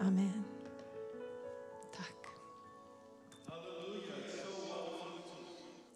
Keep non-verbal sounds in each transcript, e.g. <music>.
Amen. Takk.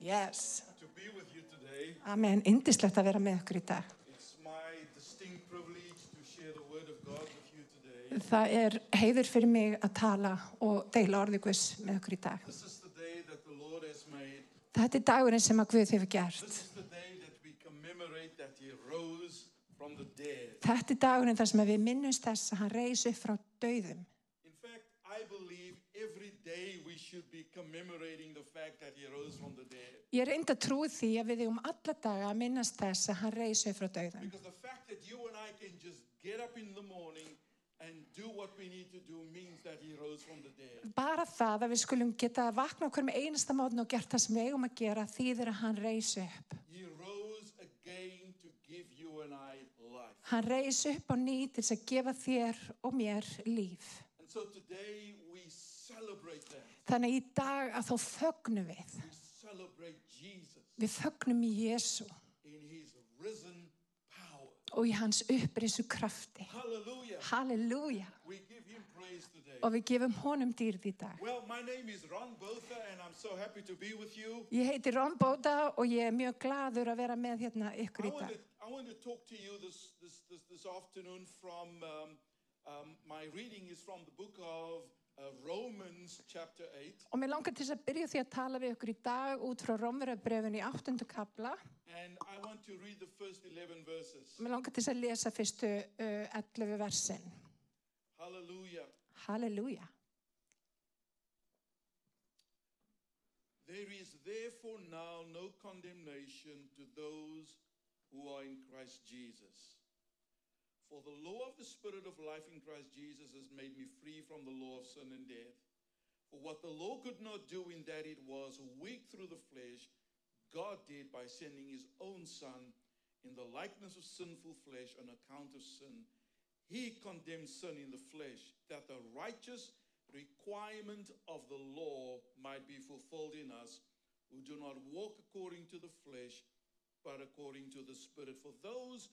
Yes. To be with you today, Amen. Indislegt að vera með okkur í dag. it's my distinct privilege to share the Word of God with you today. Það er heiður fyrir mig að tala og deila orði Guðs með okkur í dag. This is the day that the Lord has made. Þetta er dagurinn sem að Guð hefur gert. This is the day that we commemorate that He rose from the dead. Þetta er dagurinn þar sem að við minnumst þess að hann reis upp frá dauðum. In fact, I believe every day we should be commemorating the fact that He rose from the dead. Ég er enda trúið því að við eigum alla daga að minnast þess að hann reis upp frá dauðum. Because the fact that you and I can just get up in the morning and do what we need to do means that He rose from the dead. Bara það að við skulum geta að vakna okkur með einasta mátn og gert það sem við eigum að gera þýðir að hann reis upp. He rose again to give you and I life. Hann reis upp á ný til þess að gefa þér og mér líf. And so today we celebrate that. Þannig að í dag að þá fögnum við. We celebrate Jesus Við fögnum í Jésu in his risen power. og í hans upprisu krafti. Hallelujah. Halleluja! We give him praise today. Og við gefum honum dýrð í dag. Well, my name is Ron Botha, and I'm so happy to be with you. Ég heiti Ron Bóta og ég er mjög gladur að vera með hérna ykkur I í want dag. to, I want to talk to you this, this, this, this afternoon from um, um, my reading is from the book of uh, Romans, chapter 8. Og mér langar til þess að byrja á því að tala við ykkur í dag út frá Rómverðabrefin í 8. kapla. And I want to read the first 11 verses. Mér langar til þess að lesa fyrstu uh, 11 versin. Hallelujah. Halleluja! There is therefore now no condemnation to those who are in Christ Jesus. For the law of the Spirit of life in Christ Jesus has made me free from the law of sin and death. For what the law could not do in that it was weak through the flesh, God did by sending his own Son in the likeness of sinful flesh on account of sin. He condemned sin in the flesh, that the righteous requirement of the law might be fulfilled in us who do not walk according to the flesh, but according to the Spirit. For those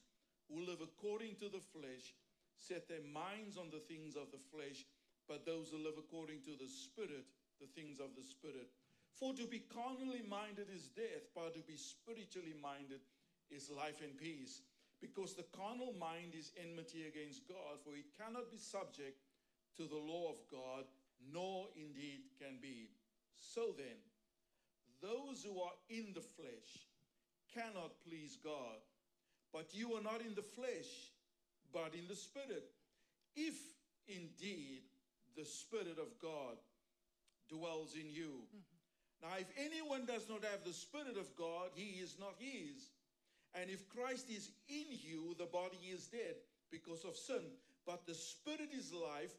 who live according to the flesh set their minds on the things of the flesh, but those who live according to the Spirit, the things of the Spirit. For to be carnally minded is death, but to be spiritually minded is life and peace. Because the carnal mind is enmity against God, for it cannot be subject to the law of God, nor indeed can be. So then, those who are in the flesh cannot please God. But you are not in the flesh, but in the Spirit. If indeed the Spirit of God dwells in you. Now, if anyone does not have the Spirit of God, he is not his. And if Christ is in you, the body is dead because of sin, but the Spirit is life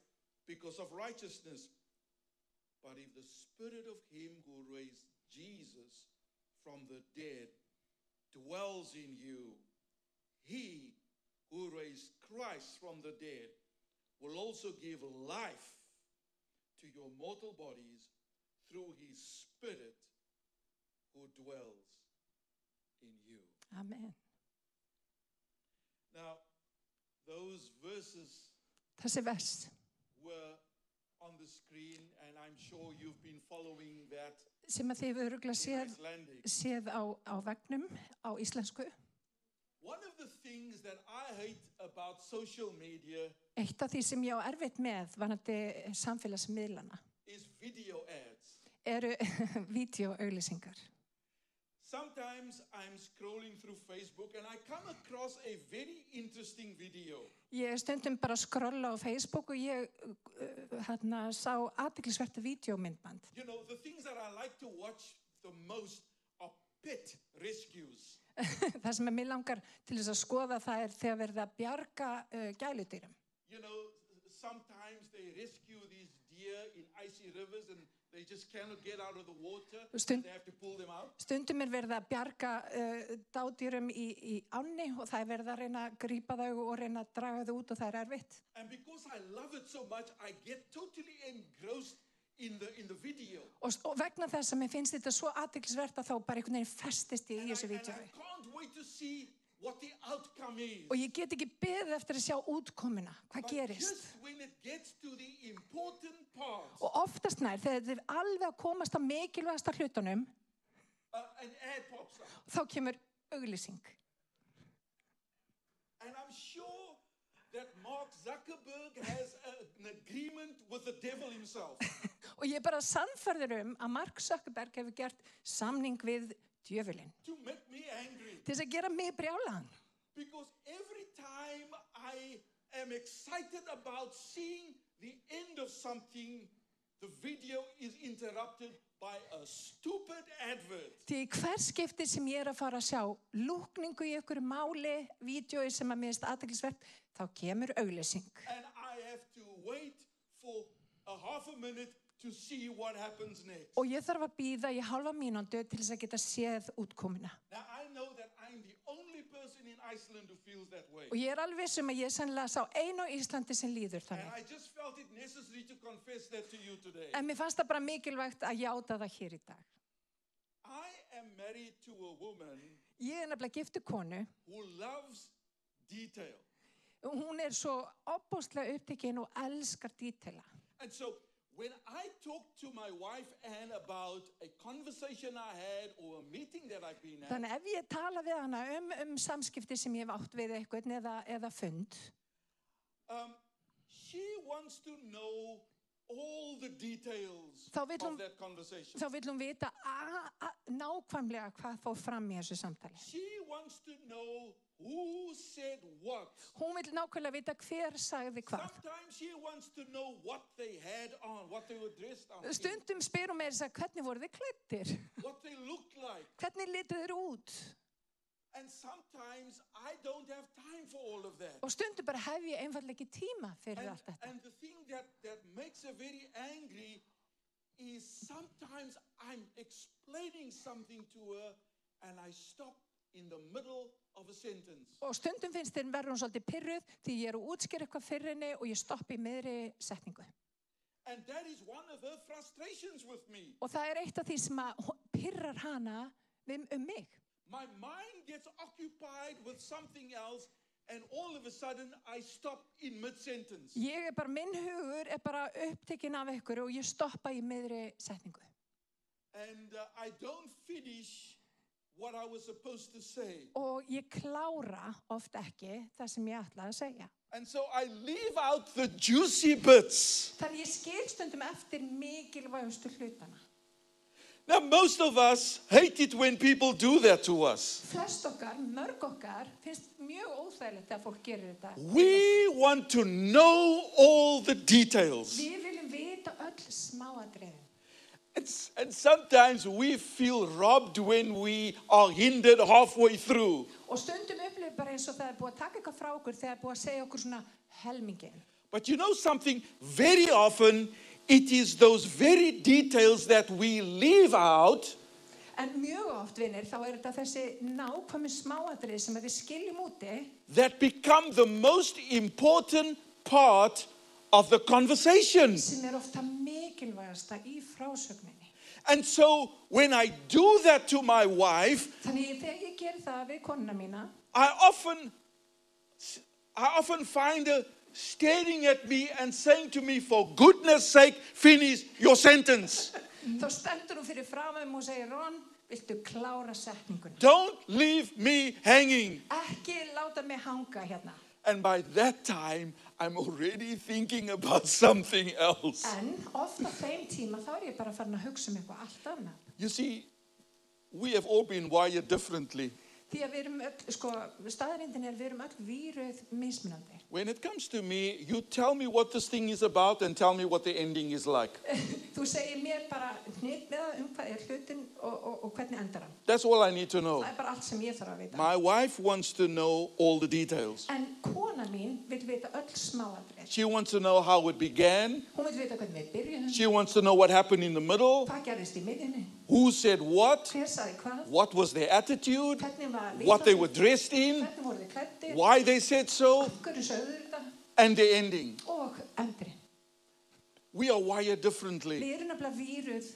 because of righteousness. But if the spirit of him who raised Jesus from the dead dwells in you, he who raised Christ from the dead will also give life to your mortal bodies through his spirit who dwells in you. Amen. Now, those verses Þessi vers. were on the screen, and I'm sure you've been following that sem að þið öruglega in séð, Icelandic. séð á, á vegnum á íslensku. One of the things that I hate about social media Eitt af því sem ég á erfitt með vanandi samfélagsmiðlana is video ads. eru <laughs> videoauglýsingar. Sometimes I'm scrolling through Facebook and I come across a very interesting video. Ég er stundum bara að skrolla á Facebook og ég uh, hérna, sá aðdeklisverta videómyndband. You know, the things that I like to watch the most are pet rescues. <laughs> það sem er mér langar til þess að skoða það er þegar verða að bjarga uh, gæludýrum. You know, sometimes they rescue these deer in icy rivers and they just cannot get out of the water. Stund- and they have to pull them out. Stundum er verið að bjarga uh, dádýrum í, í ánni og það er verið að reyna að grípa þau og reyna að draga þau út og það er erfitt. And because I love it so much, I get totally engrossed in the in the video. Og, og vegna þess að mér finnst þetta svo aðdeklisvert að þá bara einhvern veginn festist ég í And I, þessu and I vítjói. can't wait to see what the outcome is. Oh, Og ég get ekki beðið eftir að sjá útkomuna, hvað But gerist. just when it gets to the important parts Og oftast nær, þegar þið er alveg að komast að mikilvægasta hlutunum, uh, an ad pops up. þá kemur auglýsing. And I'm sure that Mark Zuckerberg has a- an agreement with the devil himself. Og ég er bara sannferður um að Mark Zuckerberg hefur gert samning við djöfulinn. to make me angry Til þess að gera mig brjálaðan. because every time I am excited about seeing the end of something, the video is interrupted by a stupid advert. Því í hver skipti sem ég er að fara að sjá lúkningu í ykkur máli, vídjói sem að minnst aðteglisvert, þá kemur auglýsing. And I have to wait for a half a minute to see what happens next. Og ég þarf að býða í halva mínúndu til þess að geta séð útkomuna. Now I know that I'm the only person in Iceland who feels that way. Og ég er alveg sem að ég er sannlega sá einu á Íslandi sem líður And þannig. I just felt it necessary to confess that to you today. En mér fannst það bara mikilvægt að játa það hér í dag. I am married to a woman Ég er nefnilega giftu konu. who loves detail. Hún er svo opbóstlega upptekinn og elskar dítela. And so when I talk to my wife Anne about a conversation I had or a meeting that I've been at, Þannig ef ég tala við hana um, um samskipti sem ég hef átt við eitthvað eða, eða fund, um, she wants to know all the details Þá vill of hún- that conversation. þá vil hún vita a- a- nákvæmlega hvað fór fram í þessu samtali. she wants to know who said what. Hún vil nákvæmlega vita hver sagði hvað. Sometimes she wants to know what they had on, what they were dressed on, in, Stundum spyr hún með þess að hvernig voru þið klættir? what they looked like. <laughs> Hvernig litu þeir út? And sometimes I don't have time for all of that. Og stundum bara hef ég einfallega ekki tíma fyrir And, allt þetta. and the thing that, that makes her very angry is sometimes I'm explaining something to her and I stop in the middle of a sentence. Og stundum finnst þeir verður hún svolítið pyrruð því ég er að útskýra eitthvað fyrir henni og ég stoppi í miðri setningu. And that is one of her frustrations with me. Og það er eitt af því sem að hó- pyrrar hana um, um mig. My mind gets occupied with something else and all of a sudden I stop in mid sentence. Ég er bara, minn hugur er bara upptekinn af ykkur og ég stoppa í miðri setningu. And uh, I don't finish what I was supposed to say. Og ég klára oft ekki það sem ég ætla að segja. And so I leave out the juicy bits. Þar ég skil stundum eftir mikilvægustu hlutana. Now, most of us hate it when people do that to us. Flest okkar, mörg okkar, finnst mjög óþægilegt að fólk gerir þetta. We want to know all the details. Við viljum vita öll smáadriðin. It's- and sometimes we feel robbed when we are hindered halfway through. Og stundum upplifir bara eins og það er búið að taka eitthvað frá okkur þegar það er búið að segja okkur svona helmingin. But you know something? Very often, it is those very details that we leave out En mjög oft, vinnir, þá er þetta þessi nákvæmi smáatrið sem að við skiljum úti that become the most important part of the conversation. sem er ofta mikilvægasta í frásögninni. And so, when I do that to my wife, Þannig þegar ég ger það við konuna mína, I often, I often find her staring at me and saying to me, for goodness sake, finish your sentence. þá stendur hún fyrir framum og segir Ron, viltu klára setninguna? Don't leave me hanging. Ekki láta mig hanga hérna. And by that time, I'm already thinking about <laughs> something else. En ofta þeim tíma þá er ég bara farin að hugsa um eitthvað allt annað. You see, we have all been wired differently. Því að við erum öll, sko, staðarindin er við erum öll víruð mismunandi. <laughs> When it comes to me, you tell me what this thing is about and tell me what the ending is like. Þú segir mér bara hnitt með það um hvað er hlutin og, og, og hvernig endar hann. That's all I need to know. Það er bara allt sem ég þarf að vita. My wife wants to know all the details. En kona mín vil vita öll smáadrið. She wants to know how it began. Hún vil vita hvernig við byrjuðum, She wants to know what happened in the middle, hvað gerðist í miðjunni, who said what, hver saði hvað, what was their attitude, hvernig var what they were viðhorfið, dressed in, hvernig voru þið klættir, why they said so, hverju sögðu þeir þetta and the ending. og endurinn. We are wired differently. Við erum nefnilega víruð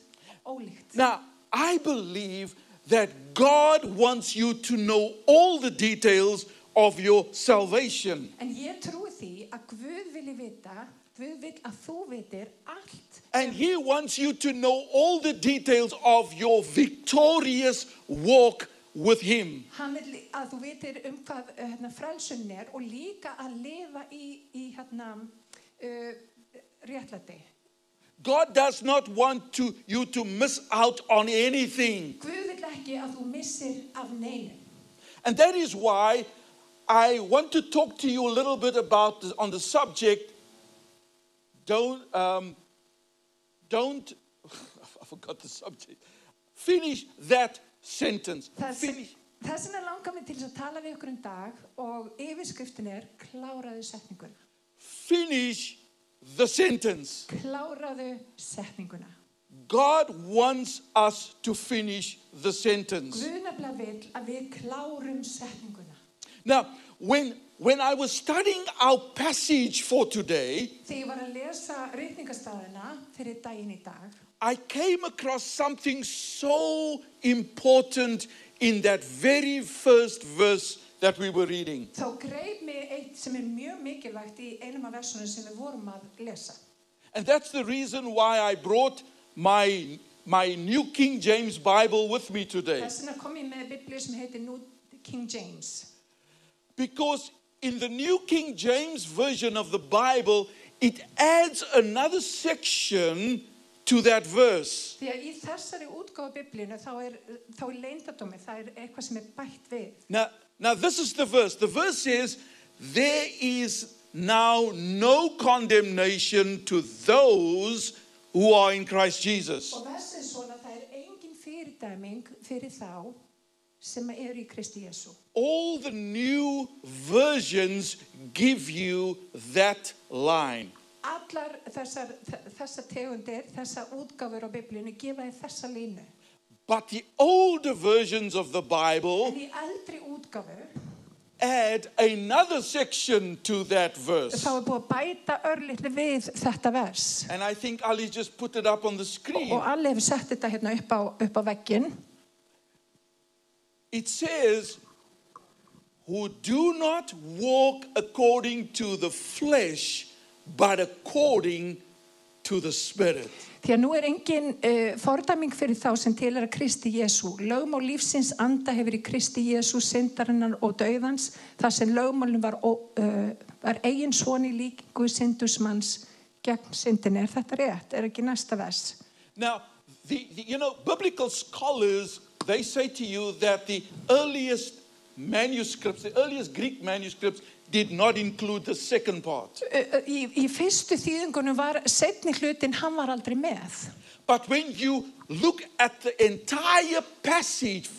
ólíkt. Now, I believe that God wants you to know all the details of your salvation. En ég trúi því að Guð vilji vita, Guð vil að þú vitir allt And He wants you to know all the details of your victorious walk with Him. Hann vil að þú vitir um hvað uh, hérna, frelsun er og líka að lifa í, í hérna, uh, réttlæti. God does not want to, you to miss out on anything. Guð vil ekki að þú missir af neinu. And that is why I want to talk to you a little bit about this, on the subject. Don't um, don't <laughs> I forgot the subject. Finish that sentence. Þess, Finish. þess vegna langar mig til þess að tala við ykkur um dag og yfirskriftin er kláraðu setninguna. Finish the sentence. Kláraðu setninguna. God wants us to finish the sentence. Guð nefnilega vil að við klárum setninguna. Now, when when I was studying our passage for today, Þegar ég var að lesa rýtningastæðina fyrir daginn í dag, I came across something so important in that very first verse that we were reading. þá greip mig eitt sem er mjög mikilvægt í einum af versunum sem við vorum að lesa. And that's the reason why I brought my, my New King James Bible with me today. Þess vegna kom ég með biblíu sem heitir New King James. Because in the New King James Version of the Bible, it adds another section to that verse. Því að í þessari útgáfa biblíunu þá er, þá er leindadómi, það er eitthvað sem er bætt við. Now, now, this is the verse. The verse says, There is now no condemnation to those who are in Christ Jesus. Og versin svona, það er engin fyrirdæming fyrir þá sem eru í Kristi Jésu. All the new versions give you that line. Allar þessar, þessar tegundir, þessar útgáfur á biblíunu gefa þér þessa línu. But the older versions of the Bible En í eldri útgáfu add another section to that verse. þá er búið að bæta örlítið við þetta vers. And I think Ali just put it up on the screen. Og allir hefur sett þetta hérna upp á, upp á vegginn. It says, who do not walk according to the flesh, but according to the Spirit. Því að nú er engin uh, fordæming fyrir þá sem tilera Kristi Jésu. Lögmál lífsins anda hefur í Kristi Jésu, syndarinnar og dauðans, þar sem lögmálinn var, ó- uh, var eigin svoni líkingu syndusmanns gegn syndinni. Er þetta rétt? Er ekki næsta vers? Now, the, the, you know, biblical scholars, they say to you that the earliest manuscripts, the earliest Greek manuscripts, did not include the second part. Uh, uh, í, í fyrstu þýðingunum var setni hlutin, hann var aldrei með. But when you look at the entire passage,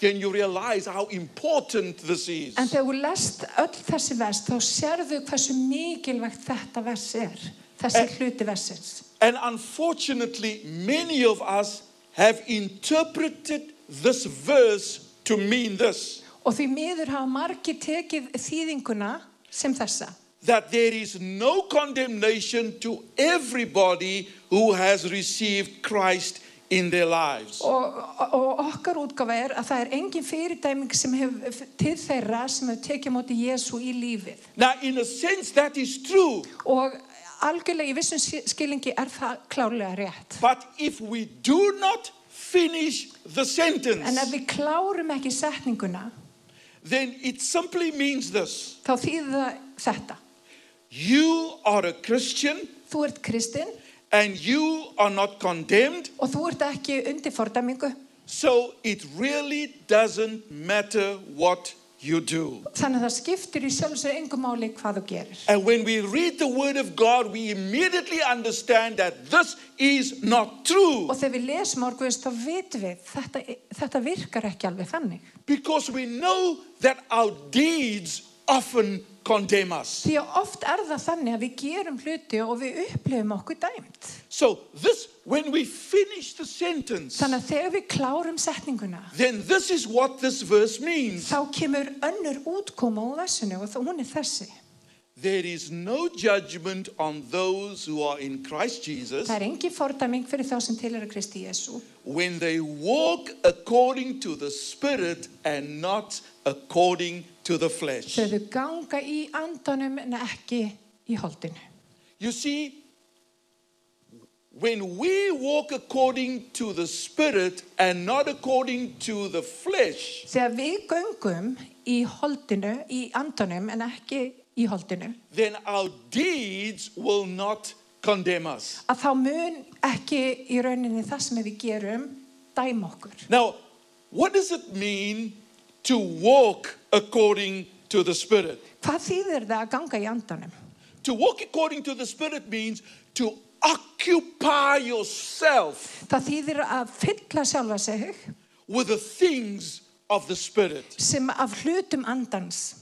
then you realize how important this is. En þegar þú lest öll þessi vers, þá sérðu hversu mikilvægt þetta vers er. Þessi hluti versins. And unfortunately, many of us have interpreted this verse to mean this Og því miður hafa margir tekið þýðinguna sem þessa. that there is no condemnation to everybody who has received Christ in their lives. Og, og okkar útgafa er að það er engin fyrirdæming sem hef, til þeirra sem hefur tekið móti Jésu í lífið. Now, in a sense, that is true. Og algjörlega í vissum skil- skilningi er það klárlega rétt. But if we do not finish the En sentence, ef við klárum ekki setninguna, then it simply means this þá þýðir það þetta. you are a Christian Þú ert kristinn and you are not condemned. og þú ert ekki undir fordæmingu. So it really doesn't matter what you do. Þannig að það skiptir í sjálfsög engum máli hvað þú gerir. And when we read the Word of God, we immediately understand that this is not true Og þegar við lesum árgveðist þá vitum við, þetta, þetta virkar ekki alveg þannig. because we know that our deeds often condemn us. Því að oft er það þannig að við gerum hluti og við upplifum okkur dæmt. So, this, when we finish the sentence, Þannig að þegar við klárum setninguna, then this is what this verse means. þá kemur önnur útkoma úr þessinu og þá hún er þessi. There is no judgment on those who are in Christ Jesus Það er engin fordæming fyrir þá sem tilhera Kristi Jésu. when they walk according to the Spirit and not according to the flesh. Þau þau ganga í andanum en ekki í holdinu. You see, when we walk according to the Spirit and not according to the flesh, Þegar við göngum í holdinu, í andanum en ekki í holdinu, then our deeds will not condemn us. að þá mun ekki í rauninni það sem við gerum dæma okkur. Now, what does it mean to walk according to the Spirit? Hvað þýðir það að ganga í andanum? To walk according to the Spirit means to occupy yourself Það þýðir að fylla sjálfa sig with the things of the Spirit. sem af hlutum andans.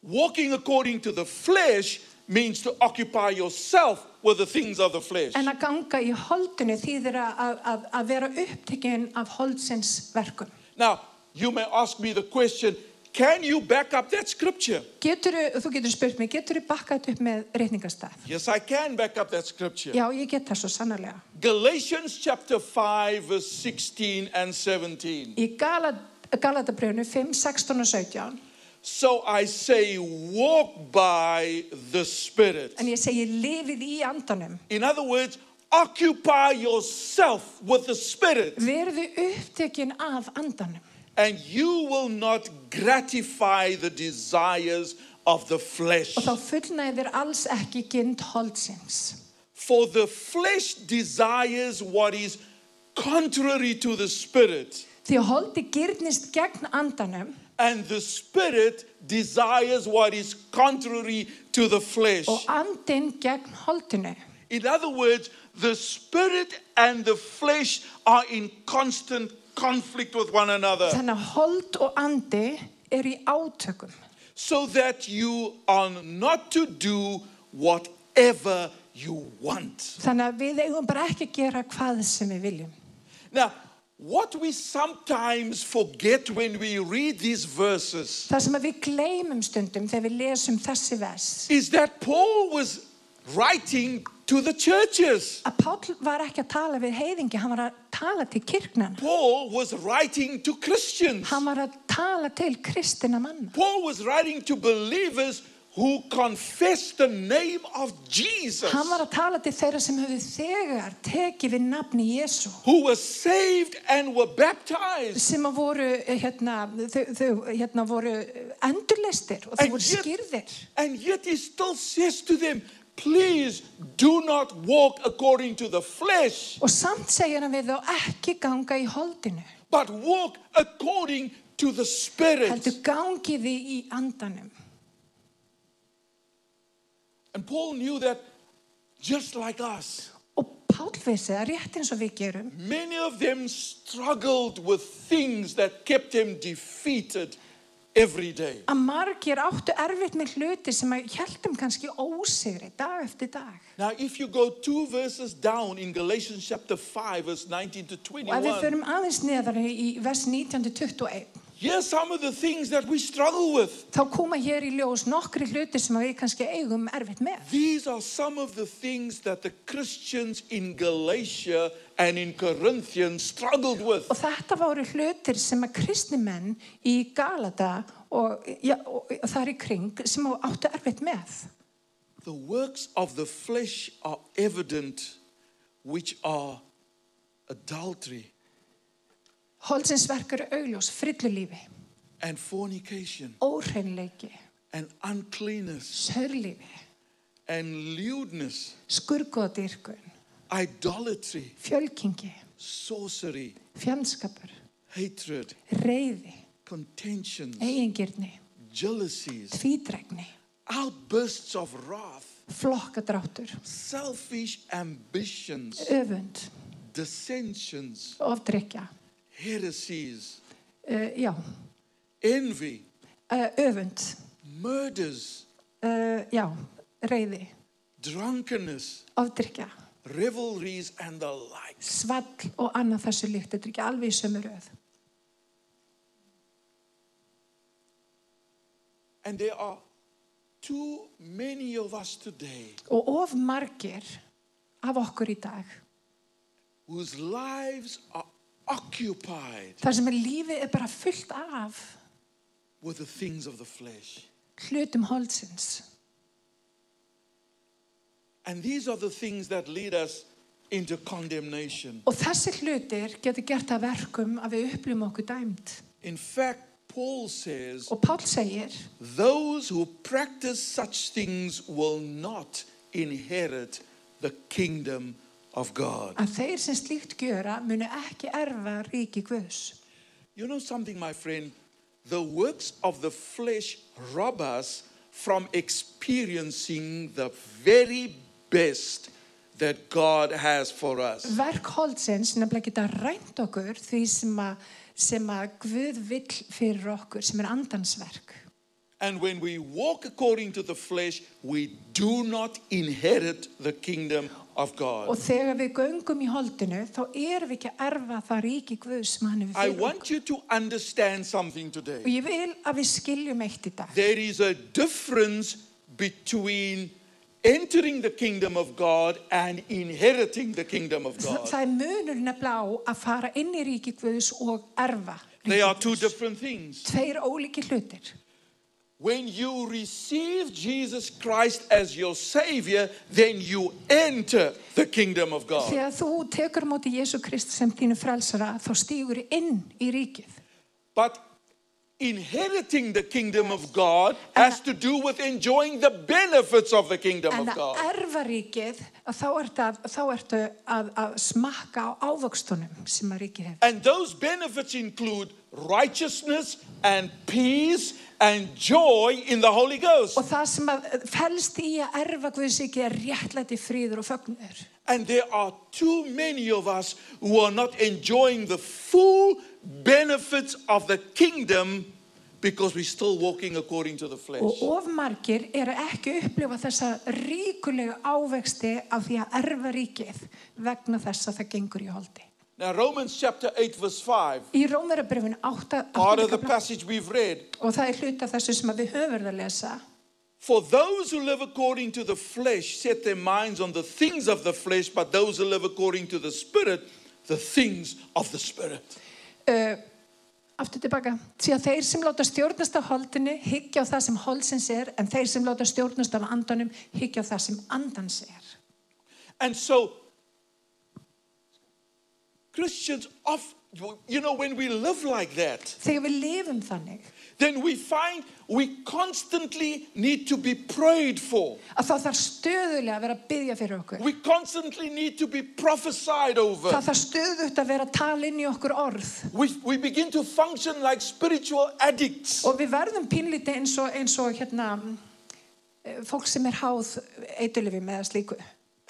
Walking according to the flesh means to occupy yourself with the things of the flesh. En að ganga í holdinu þýðir að, að, að vera upptekinn af holdsins verkum. Now, you may ask me the question can you back up that scripture? Geturu, þú getur spurt mig, getur þú bakkað upp með reytingastað? Yes, I can back up that scripture. Já, ég get það svo sannarlega. Galatians chapter 5, verse 16 and 17. Í Galat, Galatabrjönu 5, 16 og 17, So I say, walk by the Spirit. en ég segi lifið í andanum. In other words, occupy yourself with the Spirit, Verðu upptekinn af andanum and you will not gratify the desires of the flesh. og þá fullnæðir alls ekki gynd holdsins. For the flesh desires what is contrary to the Spirit. Því að holdi gyrnist gegn andanum and the spirit desires what is contrary to the flesh. og andin gegn holdinu. In other words, the spirit and the flesh are in constant conflict with one another, Þannig að hold og andi eru í átökum. so that you are not to do whatever you want. Þannig að við eigum bara ekki að gera hvað sem við viljum. Now, what we sometimes forget when we read these verses Það sem að við gleymum stundum þegar við lesum þessi vers. is that Paul was writing to the churches. Að Páll var ekki að tala við heiðingi, hann var að tala til kirknana. Paul was writing to Christians. Hann var að tala til kristina manna. Paul was writing to believers who confess the name of Jesus, Hann var að tala til þeirra sem höfðu þegar tekið við nafni Jésu. who were saved and were baptized. Sem að voru, eh, hérna, þau, þau hérna, voru endurleistir og þau And voru yet, skýrðir. and yet he still says to them, Please do not walk according to the flesh, Og samt segir hann við þá ekki ganga í holdinu. but walk according to the Spirit. Heldur gangið þið í andanum. And Paul knew that just like us, Og Páll vissi að rétt eins og við gerum, many of them struggled with things that kept them defeated every day. að margir áttu erfitt með hluti sem að heldum kannski ósigri dag eftir dag. Now, if you go two verses down in Galatians chapter 5, verse 19 to Og ef við 21, förum aðeins neðar í vers 19-21, here's some of the things that we struggle with. þá koma hér í ljós nokkri hluti sem að við kannski eigum erfitt með. These are some of the things that the Christians in Galatia and in Corinthians struggled with. Og þetta voru hlutir sem að kristnimenn í Galata og, ja, og þar í kring sem að áttu erfitt með. The works of the flesh are evident, which are adultery Holsins verk eru augljós, frillulífi, and fornication óhreinleiki, and uncleanness sörlífi, and lewdness, skurgoðdýrkun, idolatry, fjölkingi, sorcery, fjandskapur, hatred, reyði, contentions. eigingirni, jealousies, tvídregni, outbursts of wrath, flokkadráttur, selfish ambitions, öfund, dissensions, ofdrykja, heresies, uh, já, envy, uh, öfund, murders, uh, já, reyði, drunkenness, ofdrykja, revelries, and the like. svall og annað þessu líkt, þetta er ekki alveg í sömu röð. And there are too many of us today Og of margir af okkur í dag, whose lives are occupied þar sem er lífið er bara fullt af with the things of the flesh. hlutum holdsins. And these are the things that lead us into condemnation. Og þessi hlutir getur gert að verkum að við upplum okkur dæmd. In fact, Paul says Og Pál segir, Those who practice such things will not inherit the kingdom of God. að þeir sem slíkt gjöra munu ekki erfa ríki Guðs. You know something, my friend? The works of the flesh rob us from experiencing the very best that God has for us. Verk holdsins nefnilega geta rænt okkur því sem að, sem að Guð vill fyrir okkur, sem er andansverk. And when we walk according to the flesh, we do not inherit the kingdom of Og God. þegar við göngum í holdinu, þá erum við ekki að erfa það ríki Guðs sem hann I hefur fyrir okkur. want you to understand something today. Og ég vil að við skiljum eitt í dag. There is a difference between entering the kingdom of God and inheriting the kingdom of Þa- God. Það er munur nefnilega á að fara inn í ríki Guðs og erfa They ríki are two Guðs. different things. Tveir ólíki hlutir. When you receive Jesus Christ as your Savior, then you enter the kingdom of God. Þegar þú tekur á móti Jésu Krist sem þínu frelsara þá stígur inn í ríkið. But inheriting the kingdom of God has to do with enjoying the benefits of the kingdom En of að God. erfa ríkið að þá ertu, að, þá ertu að, að smakka á ávakstunum sem að ríkið hefur. And those benefits include righteousness and peace and joy in the Holy Ghost. Og það sem að felst í að erfa Guðs ríkið er réttlæti fríður og fögnur. And there are too many of us who are not enjoying the full benefits of the kingdom because we're still walking according to the flesh. Og of margir eru ekki að upplifa þessa ríkulega ávexti af því að erfa ríkið vegna þess að það gengur í holdi. Now, Romans chapter 8, verse 5, Í Rómverabrifin 8. part of the passage we've read. og það er hluti af þessu sem að við höfum verið að lesa. For those who live according to the flesh set their minds on the things of the flesh, but those who live according to the Spirit, the things of the Spirit. uh, aftur tilbaka því að þeir sem láta stjórnast á holdinu higgja á það sem holdsins er en þeir sem láta stjórnast á andanum higgja á það sem andans er And so, Christians, of, you know, when we live like that, þegar við lifum þannig then we find we constantly need to be prayed for. að þá þarf stöðulega að vera að byggja fyrir okkur We constantly need to be prophesied over. það þarf stöðugt að vera að tala inn í okkur orð We, we begin to function like spiritual addicts. og við verðum pínlítið eins og, eins og hérna eh, fólk sem er háð eitulöfi með slíku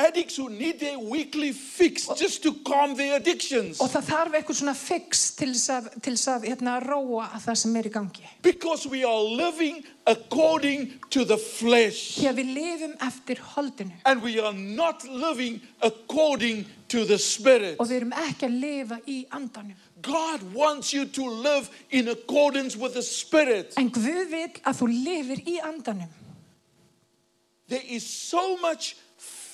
Addicts who need their weekly fix just to calm their addictions. og það þarf eitthvað svona fix til þess að, til þess að hérna, róa að það sem er í gangi Because we are living according to the flesh. því að við lifum eftir holdinu And we are not living according to the spirit. og við erum ekki að lifa í andanum. God wants you to live in accordance with the spirit. En Guð vil að þú lifir í andanum. There is so much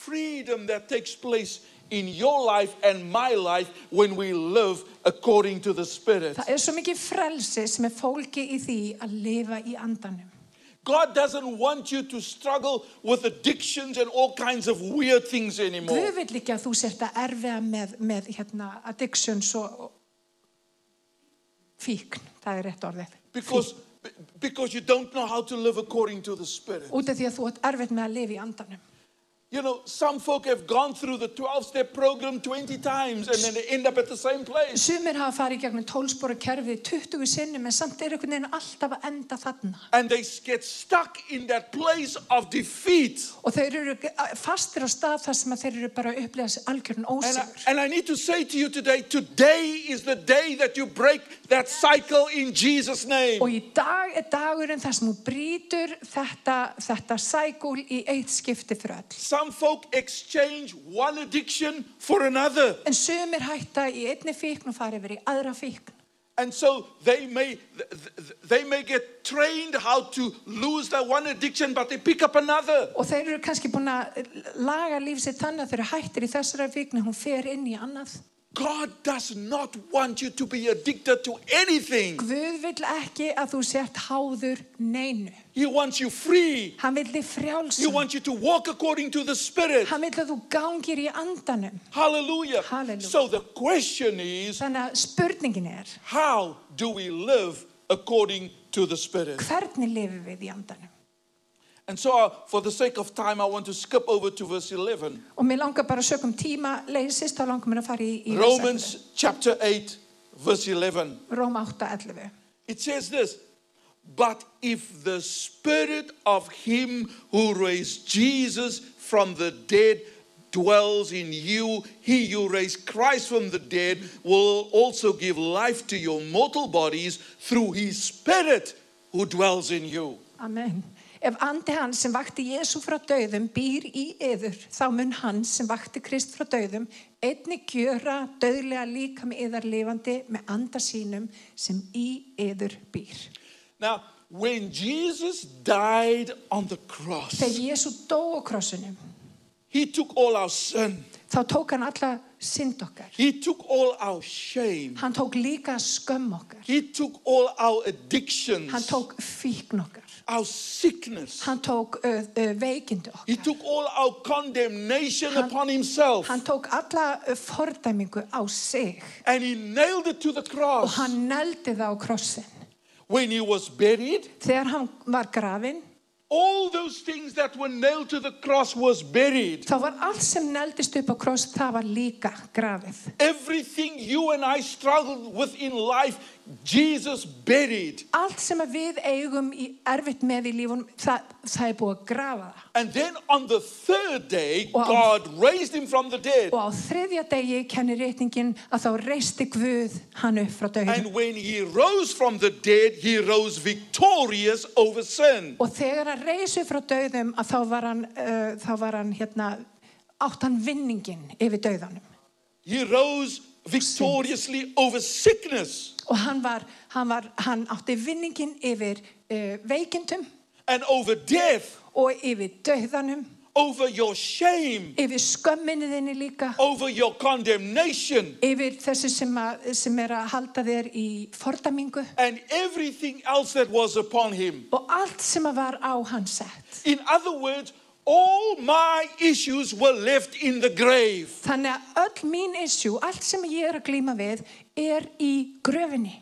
freedom that takes place in your life and my life when we live according to the Spirit. Það er svo mikið frelsi sem er fólki í því að lifa í andanum. God doesn't want you to struggle with addictions and all kinds of weird things Guð anymore. vil ekki að þú sért að erfiða með, með hérna, addictions og og fíkn, það er rétt orðið. Because, be- because you don't know how to live according to the Spirit. Út af því að þú ert erfitt með að lifa í andanum. You know, some folk have gone through the 12 step program 20 times and then they end up at the same place. Sumir hafa farið í gegnum tólspora kerfið 20 sinnum en samt er einhvern veginn alltaf að enda þarna. And they get stuck in that place of defeat. Og þeir eru fastir á stað þar sem að þeir eru bara að upplifa sig algjörn And I, ósigur. and I need to say to you today today is the day that you break that cycle in Jesus' name. Og í dag er dagurinn þar sem þú brýtur þetta, þetta sækúl í eitt skipti fyrir öll. Some folk exchange one addiction for another. En sumir hætta í einni fíkn og fara yfir í aðra fíkn. And so they may, th- th- they may get trained how to lose that one addiction, but they pick up another. Og þeir eru kannski búin að laga líf sitt þannig að þeir eru hættir í þessara fíkn en hún fer inn í annað. God does not want you to be addicted to anything. Guð vill ekki að þú sért háður neinu. He wants you free. Hann vill þið He frjálsum. wants you to walk according to the Spirit. Hann vill að þú gangir í andanum. Hallelujah. Hallelujah. So the question is Þannig að spurningin er, how do we live according to the Spirit? hvernig lifum við í andanum? And so, uh, for the sake of time, I want to skip over to verse 11. Og mér langar bara sökum tíma leysist, þá langar mér að fara í, í vers 11. Romans chapter 8, verse 11. Róm 8.11. It says this But if the spirit of him who raised Jesus from the dead dwells in you, he who raised Christ from the dead will also give life to your mortal bodies through his spirit who dwells in you. Amen. Ef andi hans sem vakti Jésu frá döðum býr í yður, þá mun hans sem vakti Krist frá döðum einni gjöra döðlega líka með yðar lifandi með anda sínum sem í yður býr. Now, when Jesus died on the cross, Þegar Jésu dó á krossunum, he took all our sin, þá tók hann alla synd okkar. he took all our shame, Hann tók líka skömm okkar. he took all our Hann addictions, tók fíkn okkar. our sickness. Hann tók uh, uh, veikindi He okkar. took all our condemnation Han- upon himself Hann tók alla uh, fordæmingu á sig and he nailed it to the og cross. hann neldi það á krossin. When he was buried, Þegar hann var grafinn, all those things that were nailed to the cross was buried. þá var allt sem neldist upp á kross, það var líka grafið. Everything you and I struggled with in life, Jesus buried. Allt sem að við eigum í erfitt með í lífunum, það, það er búið að grafa það. And then on the third day, Wow. God raised him from the dead. Og á þriðja degi kennir reytingin að þá reisti Guð hann upp frá dögum. And when he rose from the dead, he rose victorious over sin. Og þegar hann reisi frá dögum að þá var hann, uh, þá var hann hérna, átt hann vinningin yfir döðanum. He rose victoriously over sickness. Og hann, var, hann, var, hann átti vinningin yfir uh, veikindum and over death, og yfir döðanum, over your shame, yfir skömminni þinni líka. over your condemnation, yfir þessu sem, að, sem er að halda þér í fordamingu and everything else that was upon him. og allt sem að var á hans sett. In other words, all my issues were left in the grave. Þannig að öll mín issue, allt sem ég er að glýma við, er í gröfinni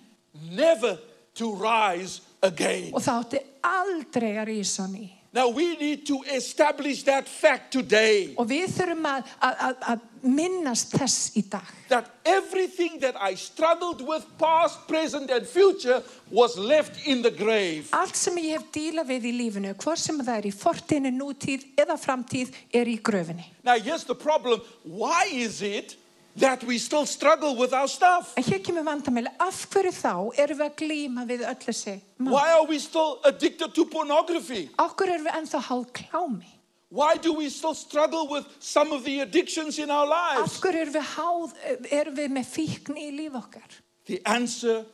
Never to rise again. og það átti aldrei að rísa hann í. Now we need to establish that fact today Og við þurfum að, að, að, að minnast þess í dag. that everything that I struggled with, past, present, and future, was left in the grave. Allt sem ég hef dílað við í lífinu, hvort sem það er í fortíðinu, nútíð eða framtíð, er í gröfinni. Now, here's the problem why is it that we still struggle with our stuff? En hér kemur vandamæli, af hverju þá erum við að glýma við öll þessi? mál? Why are we still addicted to pornography? Okkur erum við ennþá háð klámi. Why do we still struggle with some of the addictions in our Af lives? hverju erum við, háð, erum við með fíkn í líf okkar? The answer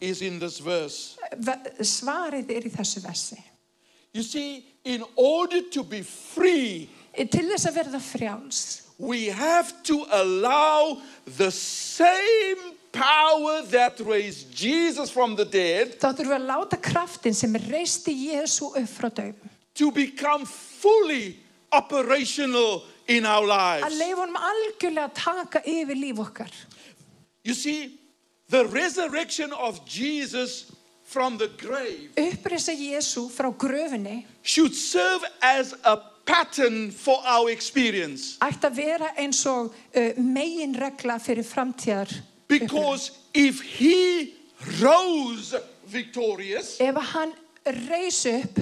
is in this verse. Ve- Svarið er í þessu versi. You see, in order to be free, Eh, Til þess að verða frjáls, we have to allow the same power that raised Jesus from the dead þá þurfum við að láta kraftin sem reisti Jésu upp frá döfum. to become fully operational in our Að lives. leifa honum algjörlega að taka yfir líf okkar. You see, the resurrection of Jesus from the grave Upprisa Jésu frá gröfinni should serve as a pattern for our experience ætti að vera eins og uh, megin regla fyrir framtíðar. because if he rose victorious Ef hann reis upp,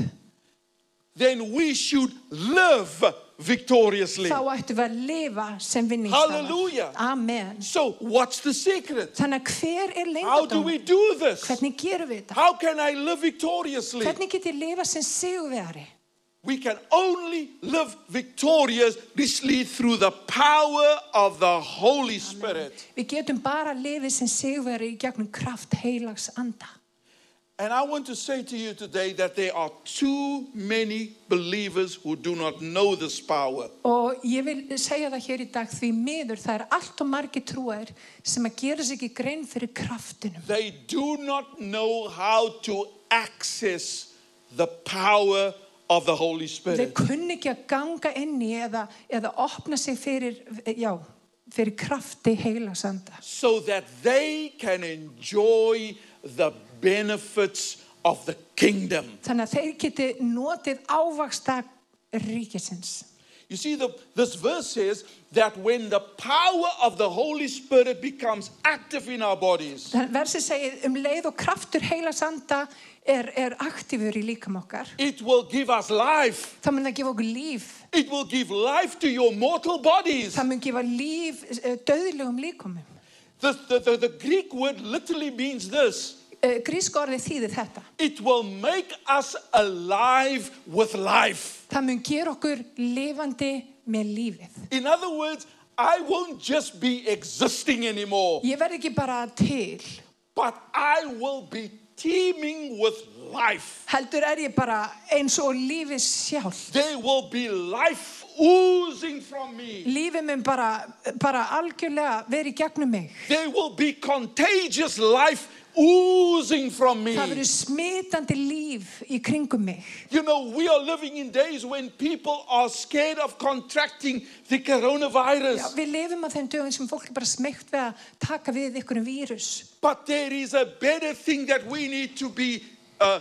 then we should live victoriously þá ættum við að lifa sem vinningstafar. Hallelujah. Amen. so what's the secret Þannig að hver er how do leyndardómur? we do this Hvernig gerum við þetta? how can i live victoriously Hvernig get ég lifa sem sigurvegari? we can only live victoriously through the power of the holy spirit Við getum bara lifið sem sigurvegari í gegnum kraft heilags anda. And I want to say to you today that there are too many believers who do not know this power. Og ég vil segja það hér í dag því miður það er allt og margi trúar sem að gera sig ekki grein fyrir kraftinum. They do not know how to access the power of the Holy Þeir Spirit. kunni ekki að ganga inn í eða, eða opna sig fyrir, já, fyrir krafti heila sanda. so that they can enjoy the benefits of the kingdom. Þannig að þeir geti notið ávaksta ríkisins. You see, the, this verse says that when the power of the Holy Spirit becomes active in our bodies, Þannig versið segir um leið og kraftur heila sanda er, er aktífur í líkam okkar. it will give us life. Það mun að gefa okkur líf. It will give life to your mortal bodies. Það mun gefa líf eh, dauðlegum líkumum. The, the, the, the Greek word literally means this Eh, Grísk orðið þýðir þetta. it will make us alive with life. Það mun gera okkur lifandi með lífið. In other words, I won't just be existing anymore. Ég verð ekki bara til, but I will be teeming with life. heldur er ég bara eins og lífið sjálf. There will be life oozing from me. Lífið mun bara, bara algjörlega verið gegnum mig. There will be contagious life oozing from Það verður me. smitandi líf í kringum mig. You know, we are living in days when people are scared of contracting the Já, coronavirus. við lifum á þeim dögum sem fólk er bara smeykt við að taka við ykkur um vírus. But there is a better thing that we need to be, uh,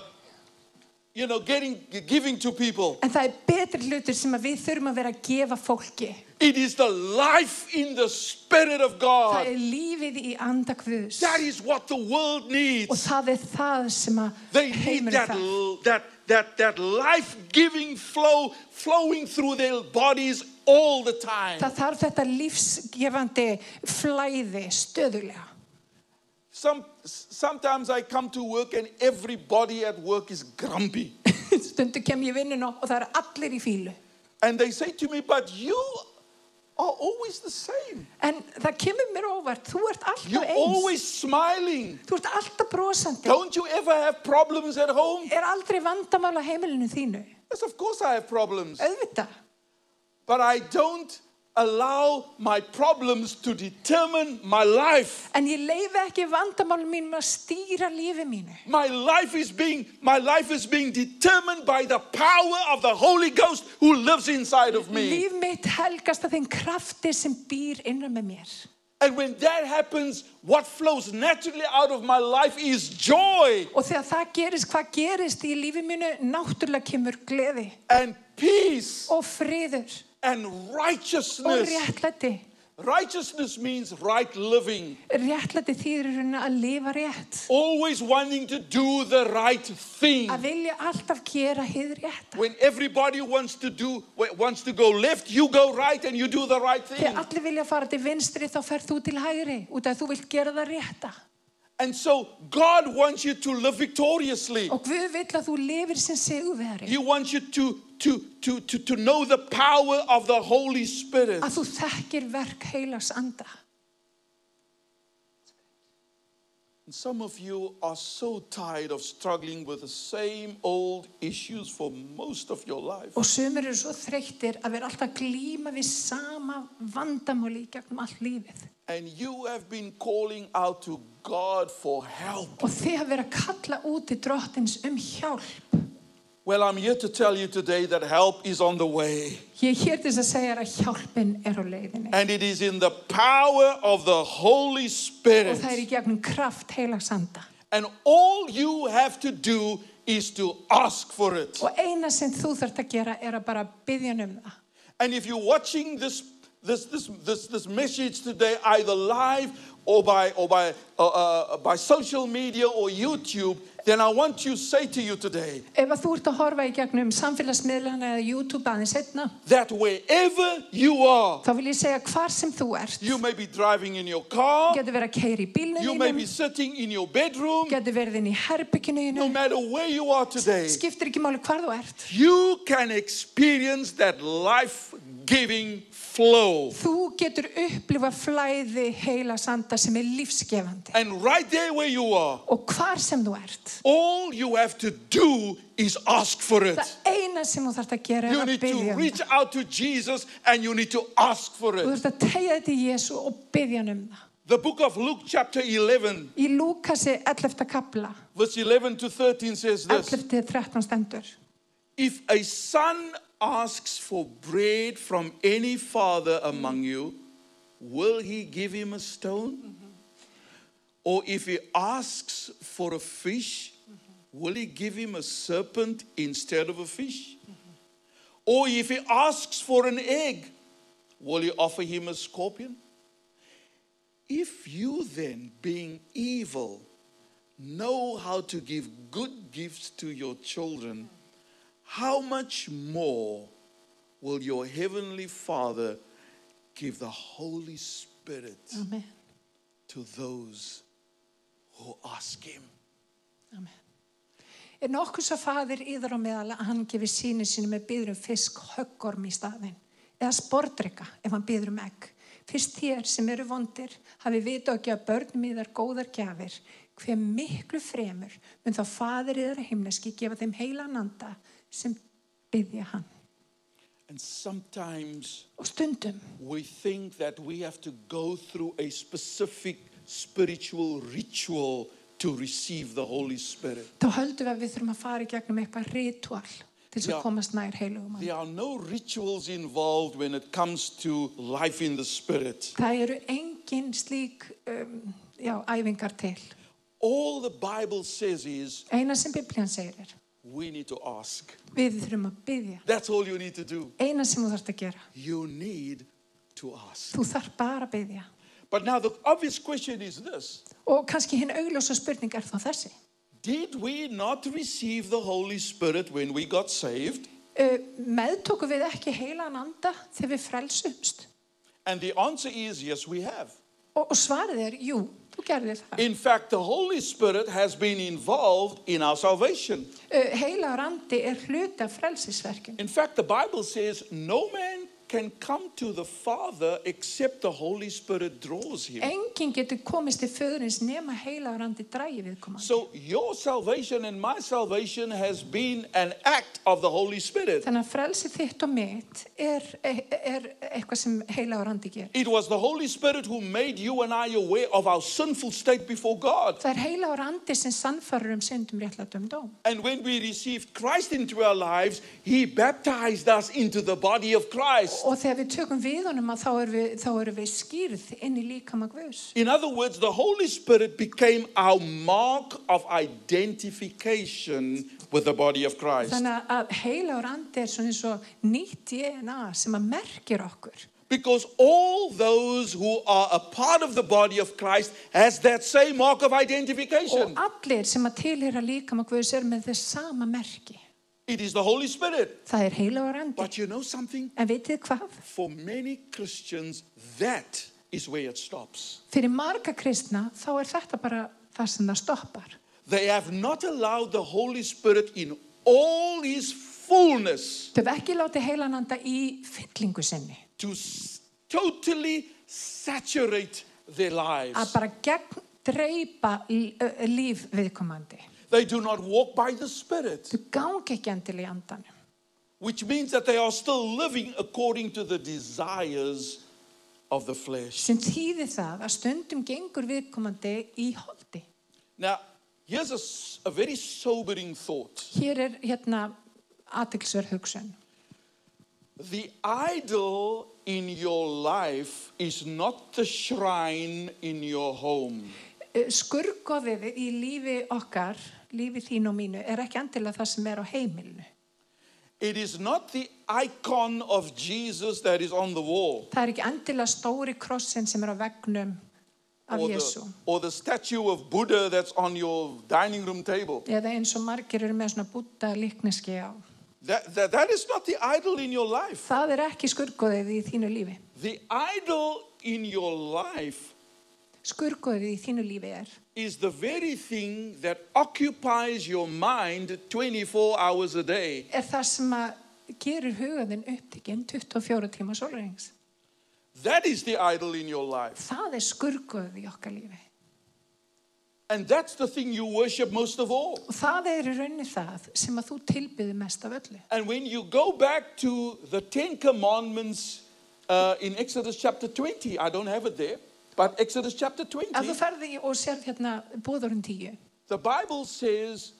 you know, getting, giving to people. En það er betri hlutur sem að við þurfum að vera að gefa fólki. It is the life in the Spirit of Það God. er lífið í andakvöðs. That is what the world needs. Og það er það sem að <laughs> They need heimurinn that, þarf. l- that, that, that life giving flow flowing through their bodies all the time. Það þarf þetta lífsgefandi flæði <laughs> stöðulega. Some, s- sometimes I come to work and everybody at work is grumpy. Stundu kem ég vinnun og það er allir í fílu. And they say to me, But you are always the same. En það kemur mér á óvart, þú ert alltaf You're eins. always smiling. Þú ert alltaf brosandi. Don't you ever have problems at home? Er aldrei vandamál á heimilinu þínu. Yes, of course I have problems. Auðvitað. But I don't allow my problems to determine my life. En ég leifi ekki vandamálum mínum að stýra lífi mínu. My life is being my life is being determined by the power of the Holy Ghost who lives inside of me. Líf mitt helgast að þeim krafti sem býr innan með mér. And when that happens, what flows naturally out of my life is joy Og þegar það gerist, hvað gerist í lífi mínu, náttúrulega kemur gleði and peace og friður and og righteousness. réttlæti. Righteousness means right living, Réttlæti þýðir í rauninni að lifa rétt. always wanting to do the right thing. Að vilja alltaf gera hið rétt. When everybody wants to do wants to go left, you go right and you do the right thing. Þegar allir vilja fara til vinstri þá ferð þú til hægri út af að þú vilt gera það rétta. And so God wants you to live victoriously. Og Guð vill að þú lifir sem seguveri. He wants you to, to, to, to, to know the power of the Holy Spirit. Að þú þekkir verk heilas anda. And some of you are so tired of struggling with the same old issues for most of your life. Og sumir eru svo þreyttir að vera alltaf að glíma við sama vandamáli í gegnum allt lífið. And you have been calling out to God for help. Og þið að vera að kalla út til drottins um hjálp. Well, I'm here to tell you today that help is on the way. Ég er hér til þess að segja þér að hjálpin er á leiðinni. And it is in the power of the Holy Og Spirit. það er í gegnum kraft heilags anda. And all you have to do is to ask for it. Og eina sem þú þarft að gera er að bara byggja um það. And if you're watching this this this this, this message today, either live or by or by uh, uh, by social media or YouTube, then I want to say to you today Ef að þú ert að horfa í gegnum samfélagsmiðlana eða YouTube aðeins setna, that wherever you are, þá vil ég segja hvar sem þú ert. you may be driving in your car, Getur verið að keira í bílnum you may þínum, be sitting in your bedroom, getur verið inn í herbygginu no þínum, matter where you are today, skiptir ekki máli hvar þú ert. you can experience that life giving flow. Þú getur upplifa flæði heila sanda sem er lífsgefandi. And right there where you are, Og hvar sem þú ert, all you have to do is ask for it. það eina sem þú þarft að gera You er að need to byggja um reach það. out to Jesus and you need to ask for Þú it. þarft að tegja þetta í Jésu og byggja hann um það. The book of Luke, chapter 11, Í Lúkasi 11. kapla, verse 11 to 13 says this 11. til 13 stendur. If a son asks for bread from any father among you, will he give him a stone? Or if he asks for a fish, will he give him a serpent instead of a fish? Or if he asks for an egg, will he offer him a scorpion? If you then, being evil, know how to give good gifts to your children, how much more will your heavenly Father give the Holy Spirit Amen. to those who ask Him? Amen. Er nokkuð svo fadir yður á meðal að hann gefur síni sínu með byður um fisk höggorm í staðinn eða spordrykka ef hann byður um egg. Fyrst þér sem eru vondir hafi vita og gefa börnum yðar góðar gjafir hver miklu fremur mun þá fadir yðar heimneski gefa þeim heila nanda sem byðja hann. And sometimes Og stundum we think that we have to go through a specific spiritual ritual to receive the Holy Spirit. þá höldum við að við þurfum að fara í gegnum eitthvað ritual til þess Já. að komast nær heilugum hann. There are no rituals involved when it comes to life in the Spirit. Það eru engin slík um, já, æfingar til. All the Bible says is Eina sem Biblian segir er, we need to ask. við þurfum að byggja. That's all you need to do. Eina sem þú þarft að gera, You need to ask. þú þarft bara að byggja. But now the obvious question is this Og kannski hinn augljósa spurning er þá þessi. Did we not receive the Holy Spirit when we got saved? Uh, meðtóku við ekki heilan anda þegar við frelsumst? And the answer is yes, we have. Og, og svarið er, jú, þú gerðir það. In fact, the Holy Spirit has been involved in our salvation. Uh, heilagur andi er hluti af frelsisverkinu. In fact, the Bible says no man can come to the Father except the Holy Spirit draws him. Engin getur komist til föðurins nema heilagur andi drægi viðkomandi. So your salvation and my salvation has been an act of the Holy Spirit. Þannig að frelsi þitt og mitt er, er, er eitthvað sem heilagur andi gerir. It was the Holy Spirit who made you and I aware of our sinful state before God. Það er heilagur andi sem sannfarur um syndum réttlætum dóm. And when we received Christ into our lives, He baptized us into the body of Christ. Og þegar við tökum við honum að þá erum við, þá erum við skýrð inn í líkama guðs. In other words, the Holy Spirit became our mark of identification with the body of Christ. Þannig að heilagur andi er svona eins og nýtt DNA sem að merkir okkur. Because all those who are a part of the body of Christ has that same mark of identification. Og allir sem að tilhera líkama guðs er með þess sama merki. It is the Holy Spirit. Það er heilagur andi. But you know something? En vitið hvað? For many Christians, that is where it stops. Fyrir marga kristna þá er þetta bara það sem það stoppar. They have not allowed the Holy Spirit in all his fullness Þau hef ekki látið heilan anda í fyllingu sinni. to s- totally saturate their Að lives. bara gegn dreipa líf viðkomandi. They do not walk by the Spirit, Þau gangi ekki endilega í andanum. which means that they are still living according to the desires of the flesh. sem þýðir það að stundum gengur viðkomandi í holdi. Now, here's a, s- a very sobering thought Hér er hérna aðtilsverð hugsun. the idol in your life is not the shrine in your home. Eh, Skurgoðið í lífi okkar, lífi þín og mínu, er ekki endilega það sem er á heimilinu. It is not the icon of Jesus that is on the wall Það er ekki endilega stóri krossin sem er á vegnum af or Jésu. the, or the statue of Buddha that's on your dining room table. Eða eins og margir eru með svona búta líkneski á. That, that, that is not the idol in your life. Það er ekki skurgoðið í þínu lífi. The idol in your life Skurgoðið í þínu lífi er is the very thing that occupies your mind 24 hours a day. er það sem að gerir hugaðinn upptikinn 24 tíma sólreings. That is the idol in your life. Það er skurguð í okkar lífi. And that's the thing you worship most of all. Og það er í raunni það sem að þú tilbyði mest af öllu. And when you go back to the Ten Commandments uh, in Exodus chapter 20, I don't have it there, but Exodus chapter 20, Ef þú ferði í- og sérð hérna bóðurinn tíu, the Bible says,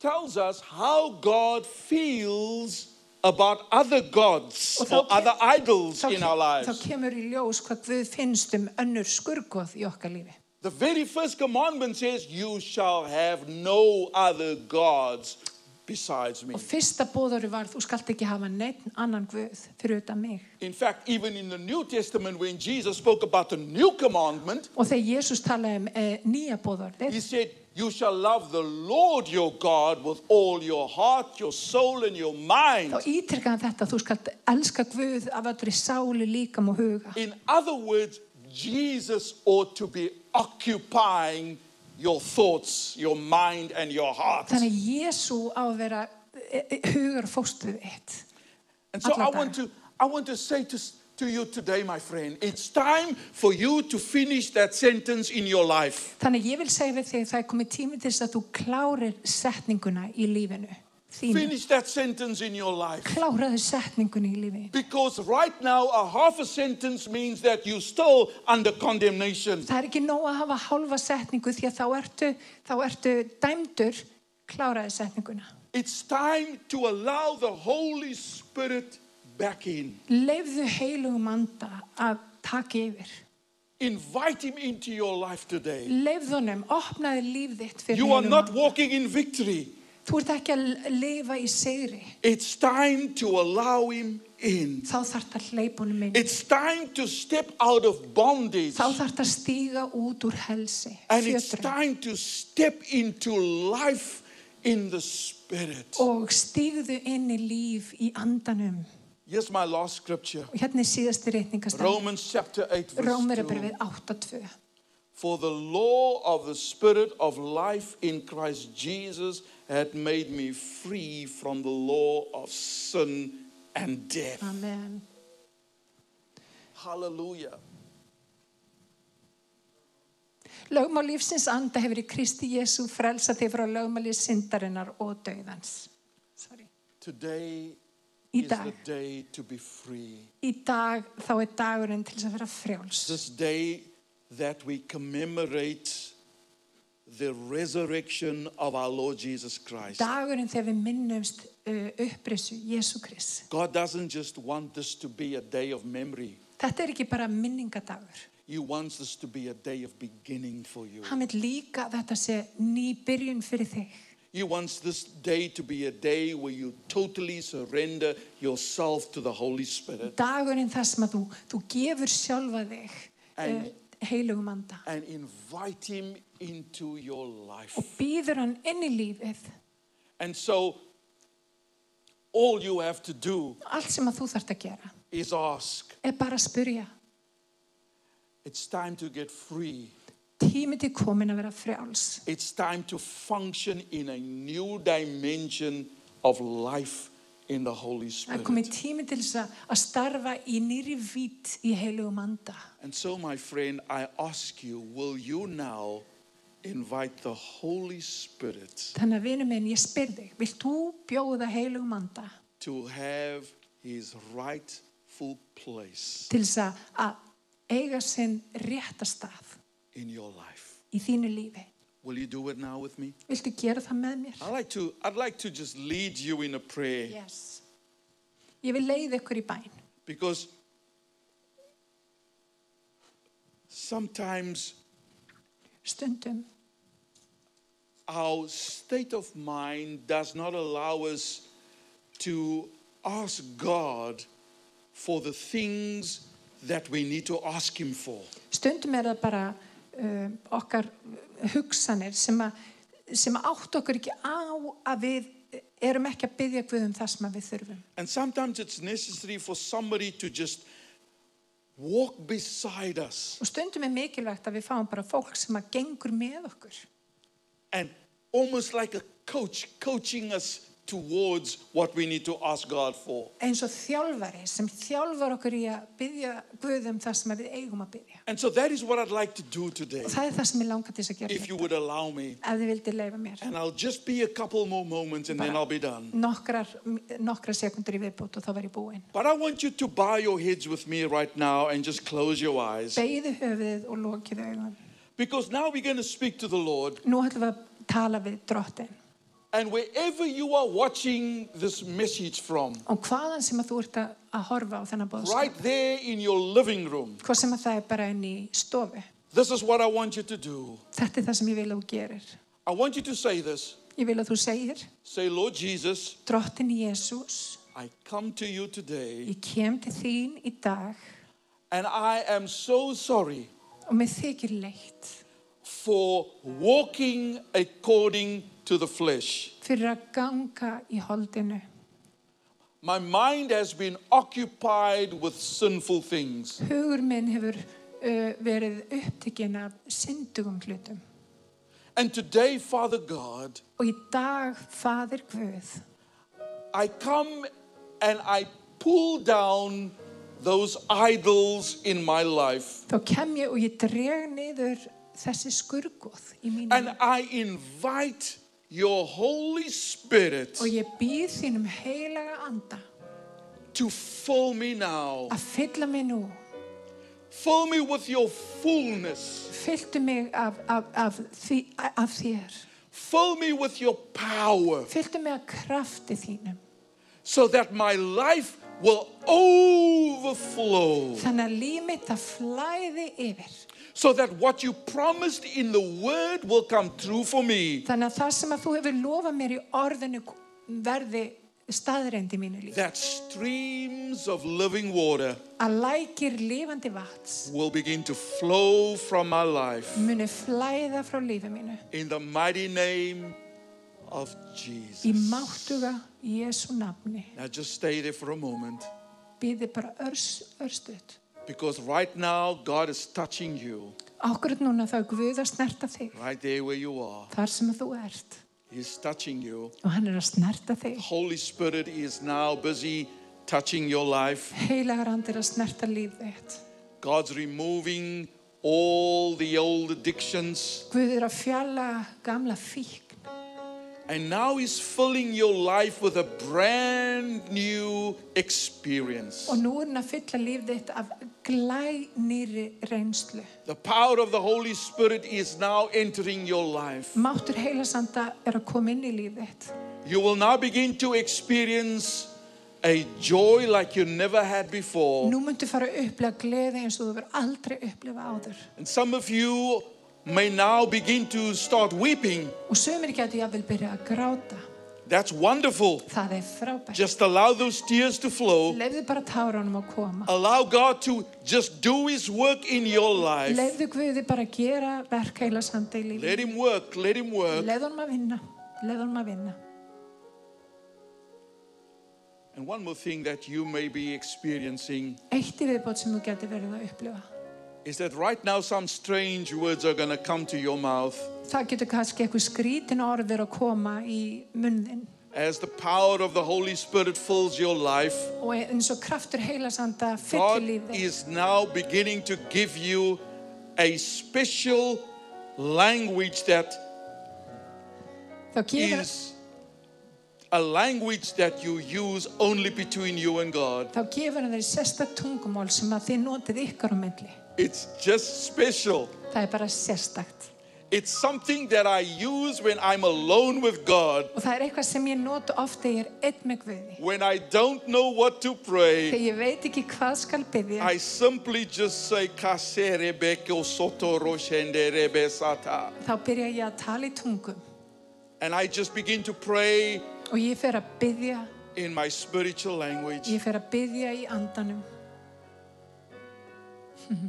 tells us how God feels about other gods Og þá or kem- other idols þá, in our þá lives. kemur í ljós hvað Guð finnst um önnur skurguð í okkar lífi. The very first commandment says, You shall have no other gods besides me. Og fyrsta bóðurinn var þú skalt ekki hafa neitt annan Guð fyrir utan mig. In fact, even in the New Testament, when Jesus spoke about the new commandment, Og þegar Jésús talaði um e, nýja He bóðorðið, said, You shall love the Lord your God with all your heart, your soul, and your mind. þá ítrekkaði hann þetta, þú skalt elska Guð af öllri sáli líkam og huga. In other words, Jesus ought to be occupying your thoughts, your mind, and your heart. Þannig að Jésú á að vera e, e, hugar fóstuð eitt. And so I Atlanta. want to, I want to say to, s- to you today, my friend, it's time for you to finish that sentence in your life. Þannig að ég vil segja við þig það er komið tími til þess að þú klárir setninguna í lífinu. Þínu. Finish that sentence in your life. Kláraðu setninguna í lífi. Because right now, a half a sentence means that you're still under condemnation. Það er ekki nóg að hafa hálfa setningu því að þá ertu, þá ertu dæmdur kláraði setninguna. It's time to allow the Holy Spirit back in. Leifðu heilugum anda að taka yfir. Invite Him into your life today. Leifðu honum, opnaði líf þitt fyrir You are heilugum not anda. walking in victory. Þú ert ekki að lifa í sigri. It's time to allow Him in. Þá þarf að hleypa honum inn. It's time to step out of bondage. Þá þarf að stíga út úr helsi, And it's fjötrum. time to step into life in the Spirit. og stígðu inn í líf í andanum. Here's my last scripture Og hérna er síðasti reytingastæð. Romans chapter 8, verse 2. Rómerabrifið 8.2. For the law of the Spirit of life in Christ Jesus had made me free from the law of sin and death. Amen. Hallelujah. Lögmál lífsins anda hefur í Kristi Jésu frelsa þig frá lögmáli syndarinnar og dauðans. Sorry. Today Í is dag. the day to be free. Í dag þá er dagurinn til þess að vera frjáls. This day that we commemorate the resurrection of our Lord Jesus Christ. Dagurinn þegar við minnumst uh, upprisu Jésu Krist. God doesn't just want this to be a day of memory. Þetta er ekki bara minningadagur. He wants this to be a day of beginning for you. Hann vil líka að þetta sé ný byrjun fyrir þig. He wants this day to be a day where you totally surrender yourself to the Holy Spirit Dagurinn það sem að þú, þú gefur sjálfa þig uh, En- heilugum anda. and invite Him into your life. og býður hann inn í lífið And so, all you have to do allt sem að þú þarft að gera is ask. er bara að spurja It's time to get free. tími til komin að vera frjáls It's time to function in a new dimension of life in the Holy það er komið Spirit. tími til þess að- að starfa í nýri vít í heilugum anda And so, my friend, I ask you will you now invite the Holy Spirit? þannig að vinur minn, ég spyr þig vilt þú bjóða heilugum anda to have his rightful place til þess að- að eiga sinn rétta stað in your life. í þínu lífi Will you do it now with me? viltu gera það með mér? I'd like to, I'd like to just lead you in a prayer Yes. ég vil leiða ykkur í bæn because sometimes stundum our state of mind does not allow us to ask God for the things that we need to ask Him for. Stundum er það bara um, okkar uh, hugsanir sem, að, sem að átt okkur ekki á að við erum ekki að byggja Guð um það sem að við þurfum. And sometimes it's necessary for somebody to just walk beside us Og stundum er mikilvægt að við fáum bara fólk sem að gengur með okkur. and almost like a coach coaching us towards what we need to ask God for. eins og þjálfari sem þjálfar okkur í að byggja Guðum það sem við eigum að byggja. And so that is what I'd like to do today, Og það er það sem ég langar til þess að gera if you þetta, would allow me. ef þið vildi leifa mér. And I'll just be a couple more moments and then I'll be done. Nokkrar, nokkrar sekundur í viðbútt og þá var ég búinn. But I want you to bow your heads with me right now and just close your eyes. Beigðu höfuðið og lokiðu augun. Because now we're going to speak to the Lord. Nú ætlum við að tala við drottin. And wherever you are watching this message from, Og hvaðan sem að þú ert að að horfa á þennan bóðskap. right there in your living room, Hvað sem að það er bara inn í stofu. this is what I want you to do. Þetta er það sem ég vil að þú gerir. I want you to say this Ég vil að þú segir, Say, Lord Jesus, drottin Jésús, I come to you today ég kem til þín í dag and I am so sorry og mér þykir leitt for walking according to the flesh. fyrir að ganga í holdinu. My mind has been occupied with sinful things. Hugur minn hefur uh, verið upptekinn af syndugum hlutum. And today, Father God, Og í dag, Fadir Guð, I come and I pull down those idols in my life þá kem ég og ég dreg niður þessi skurgóð í mínu. and I invite your Holy Spirit og ég býð þínum heilaga anda to fill me now. að fylla mig nú. Fill me with your fullness. Fylltu mig af, af, af, því, af þér. Fill me with your power Fylltu mig af krafti þínum. so that my life will overflow. Þannig að líf mitt að flæði yfir. So that what you promised in the word will come true for me. Þannig að það sem að þú hefur lofað mér í orðinu verði staðreind í mínu líf. That streams of living water Að lækir lifandi vats will begin to flow from my life. muni flæða frá lífi mínu In the mighty name of í Jesus. máttuga Jésu nafni. Now just stay there for a moment Býði bara örs, örstuð. because right now God is touching you Ákvörð núna þá er Guð að snerta þig right there where you are. þar sem að þú ert He's touching you. og hann er að snerta þig. Holy Spirit is now busy touching your life. Heilagar hann er að snerta líf þitt. God's removing all the old addictions Guð er að fjalla gamla fíkn and now He's filling your life with a brand new experience. og nú er hann að fylla líf þitt af glænýri reynslu. The power of the Holy Spirit is now entering your life. Máttur heilasanda er að koma inn í líf þitt. You will now begin to experience a joy like you never had before. Nú myndu fara að upplifa gleði eins og þú verður aldrei upplifa áður. And some of you may now begin to start weeping. Og sömur getur jafnvel byrjað að gráta. That's wonderful. Það er frábært. Just allow those tears to flow. Leifðu bara tárunum að koma. Allow God to just do His work in your life. Leifðu Guði bara að gera verk heilasanda í lífi. Let Him work. Let Him work. Leifðu honum að vinna. Leifðu honum að vinna. And one more thing that you may be experiencing Eitt í viðbót sem þú getur verið að upplifa. is that right now some strange words are going to come to your mouth Það getur kannski eitthvað skrítin orður að koma í munnin. as the power of the Holy Spirit fills your life. Og eins og kraftur heilasanda God fyllir lífið. is now beginning to give you a special language that Þá gefur, is a language that you use only between you and God. þá gefur hann þeir sérsta tungumál sem að þið notið ykkar á milli. It's just special. Það er bara sérstakt. It's something that I use when I'm alone with God, Og það er eitthvað sem ég notu oft þegar ég er einn með Guði. when I don't know what to pray. Þegar ég veit ekki hvað skal byggja, I simply just say Kaserebeke soto roshenderebe sata. þá byrja ég að tala í tungum. and I just begin to pray Og ég fer að byggja, in my spiritual language. ég fer að byggja í andanum.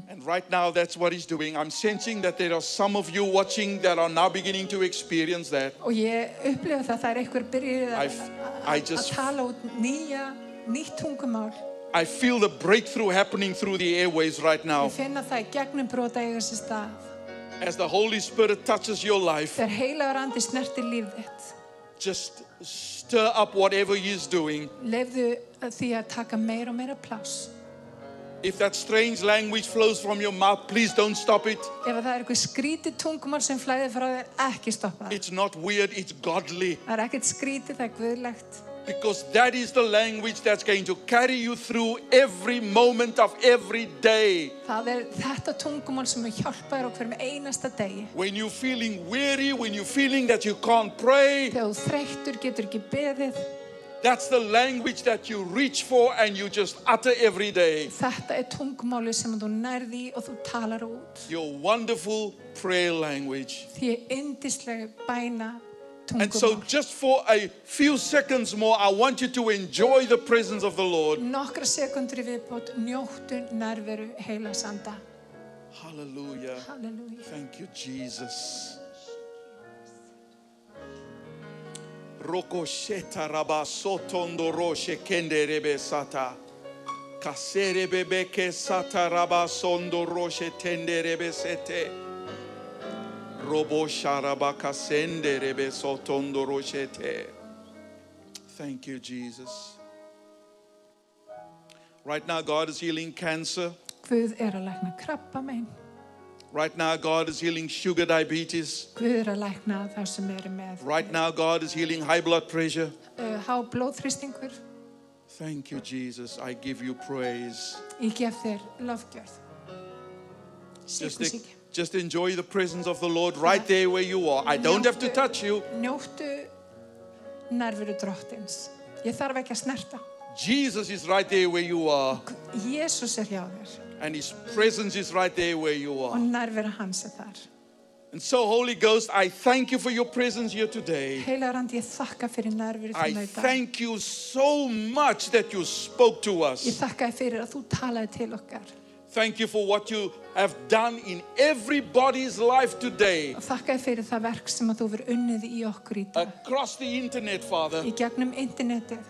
And right now that's what he's doing. I'm sensing that there are some of you watching that are now beginning to experience that. Og ég upplifa það, það er einhver byrjuð að, I've- I að, að just- tala út nýja, nýtt tungumál. I feel the breakthrough happening through the airways right now Ég finna það í gegnum brota eiga sér stað. as the Holy Spirit touches your life. Þegar heilagur andi snertir líf þitt. Just stir up whatever he's doing. Leifðu því að taka meira og meira pláss. If that strange language flows from your mouth, please don't stop it. Ef að það er eitthvað skrítið tungumál sem flæðir frá þér, ekki stoppa það. It's not weird, it's godly. Það er ekkert skrítið, það er guðlegt. Because that is the language that's going to carry you through every moment of every day. Það er þetta tungumál sem mun hjálpa þér á hverjum einasta degi. When you're feeling weary, when you're feeling that you can't pray, Þegar þú þreyttur getur ekki beðið. that's the language that you reach for and you just utter every day. Þetta er tungumáli sem þú nærði í og þú talar út. Your wonderful prayer language. Því er yndislega bæna And so, tungumál. just for a few seconds more, I want you to enjoy the presence of the Lord. Nokkra sekundur í viðbót, njóttu nærveru heila sanda. Hallelujah. Halleluja. Thank you, Jesus. Rokosheta rabasotondo roshe kenderebe sata. Kaserebebeke sata rabasondo roshe tenderebe sete. Robo sharabaka senderebe sotondo roshete. Thank you, Jesus. Right now, God is healing cancer. Guð er að lækna krabba megin. Right now, God is healing sugar diabetes. Guð er að lækna þá sem eru með Right now, God is healing high blood pressure. uh, há blóðþrýstingur. Thank you, Jesus. I give you praise. Ég gef þér lofgjörð. Just, Sýku síki. just enjoy the presence of the Lord right there where you are. I don't have to touch you. Njóttu nærveru drottins. Ég þarf ekki að snerta. Jesus is right there where you are, Jésús er hjá þér and His presence is right there where you og are. nærvera hans er þar. And so, Holy Ghost, I thank you for your presence here today. Heilarand, ég þakka fyrir nærveru I þína í dag. thank you so much that you spoke to Ég us. þakka þér fyrir að þú talaði til okkar. Thank you for what you have done in everybody's life today Og þakka þér fyrir það verk sem að þú verið unnið í okkur í dag. across the internet, Father. Í gegnum internetið.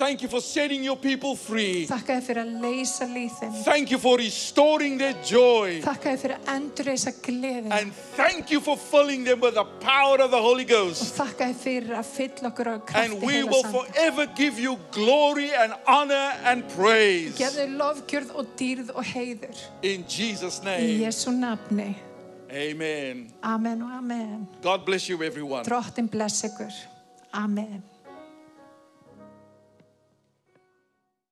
Thank you for setting your people free. Þakka þér fyrir að leysa líðin. Thank you for restoring their joy. Þakka þér fyrir að endurreisa gleðin. And thank you for filling them with the power of the Holy Ghost. Þakka þér fyrir að fylla okkur á And krafti we heila will samt. forever give you glory and honor and praise. Gefðu lofgjörð og dýrð og heiður. In Jesus' Í name. Jésu nafni. Amen. Amen og amen. God bless you, everyone. Drottin bless ykkur. Amen.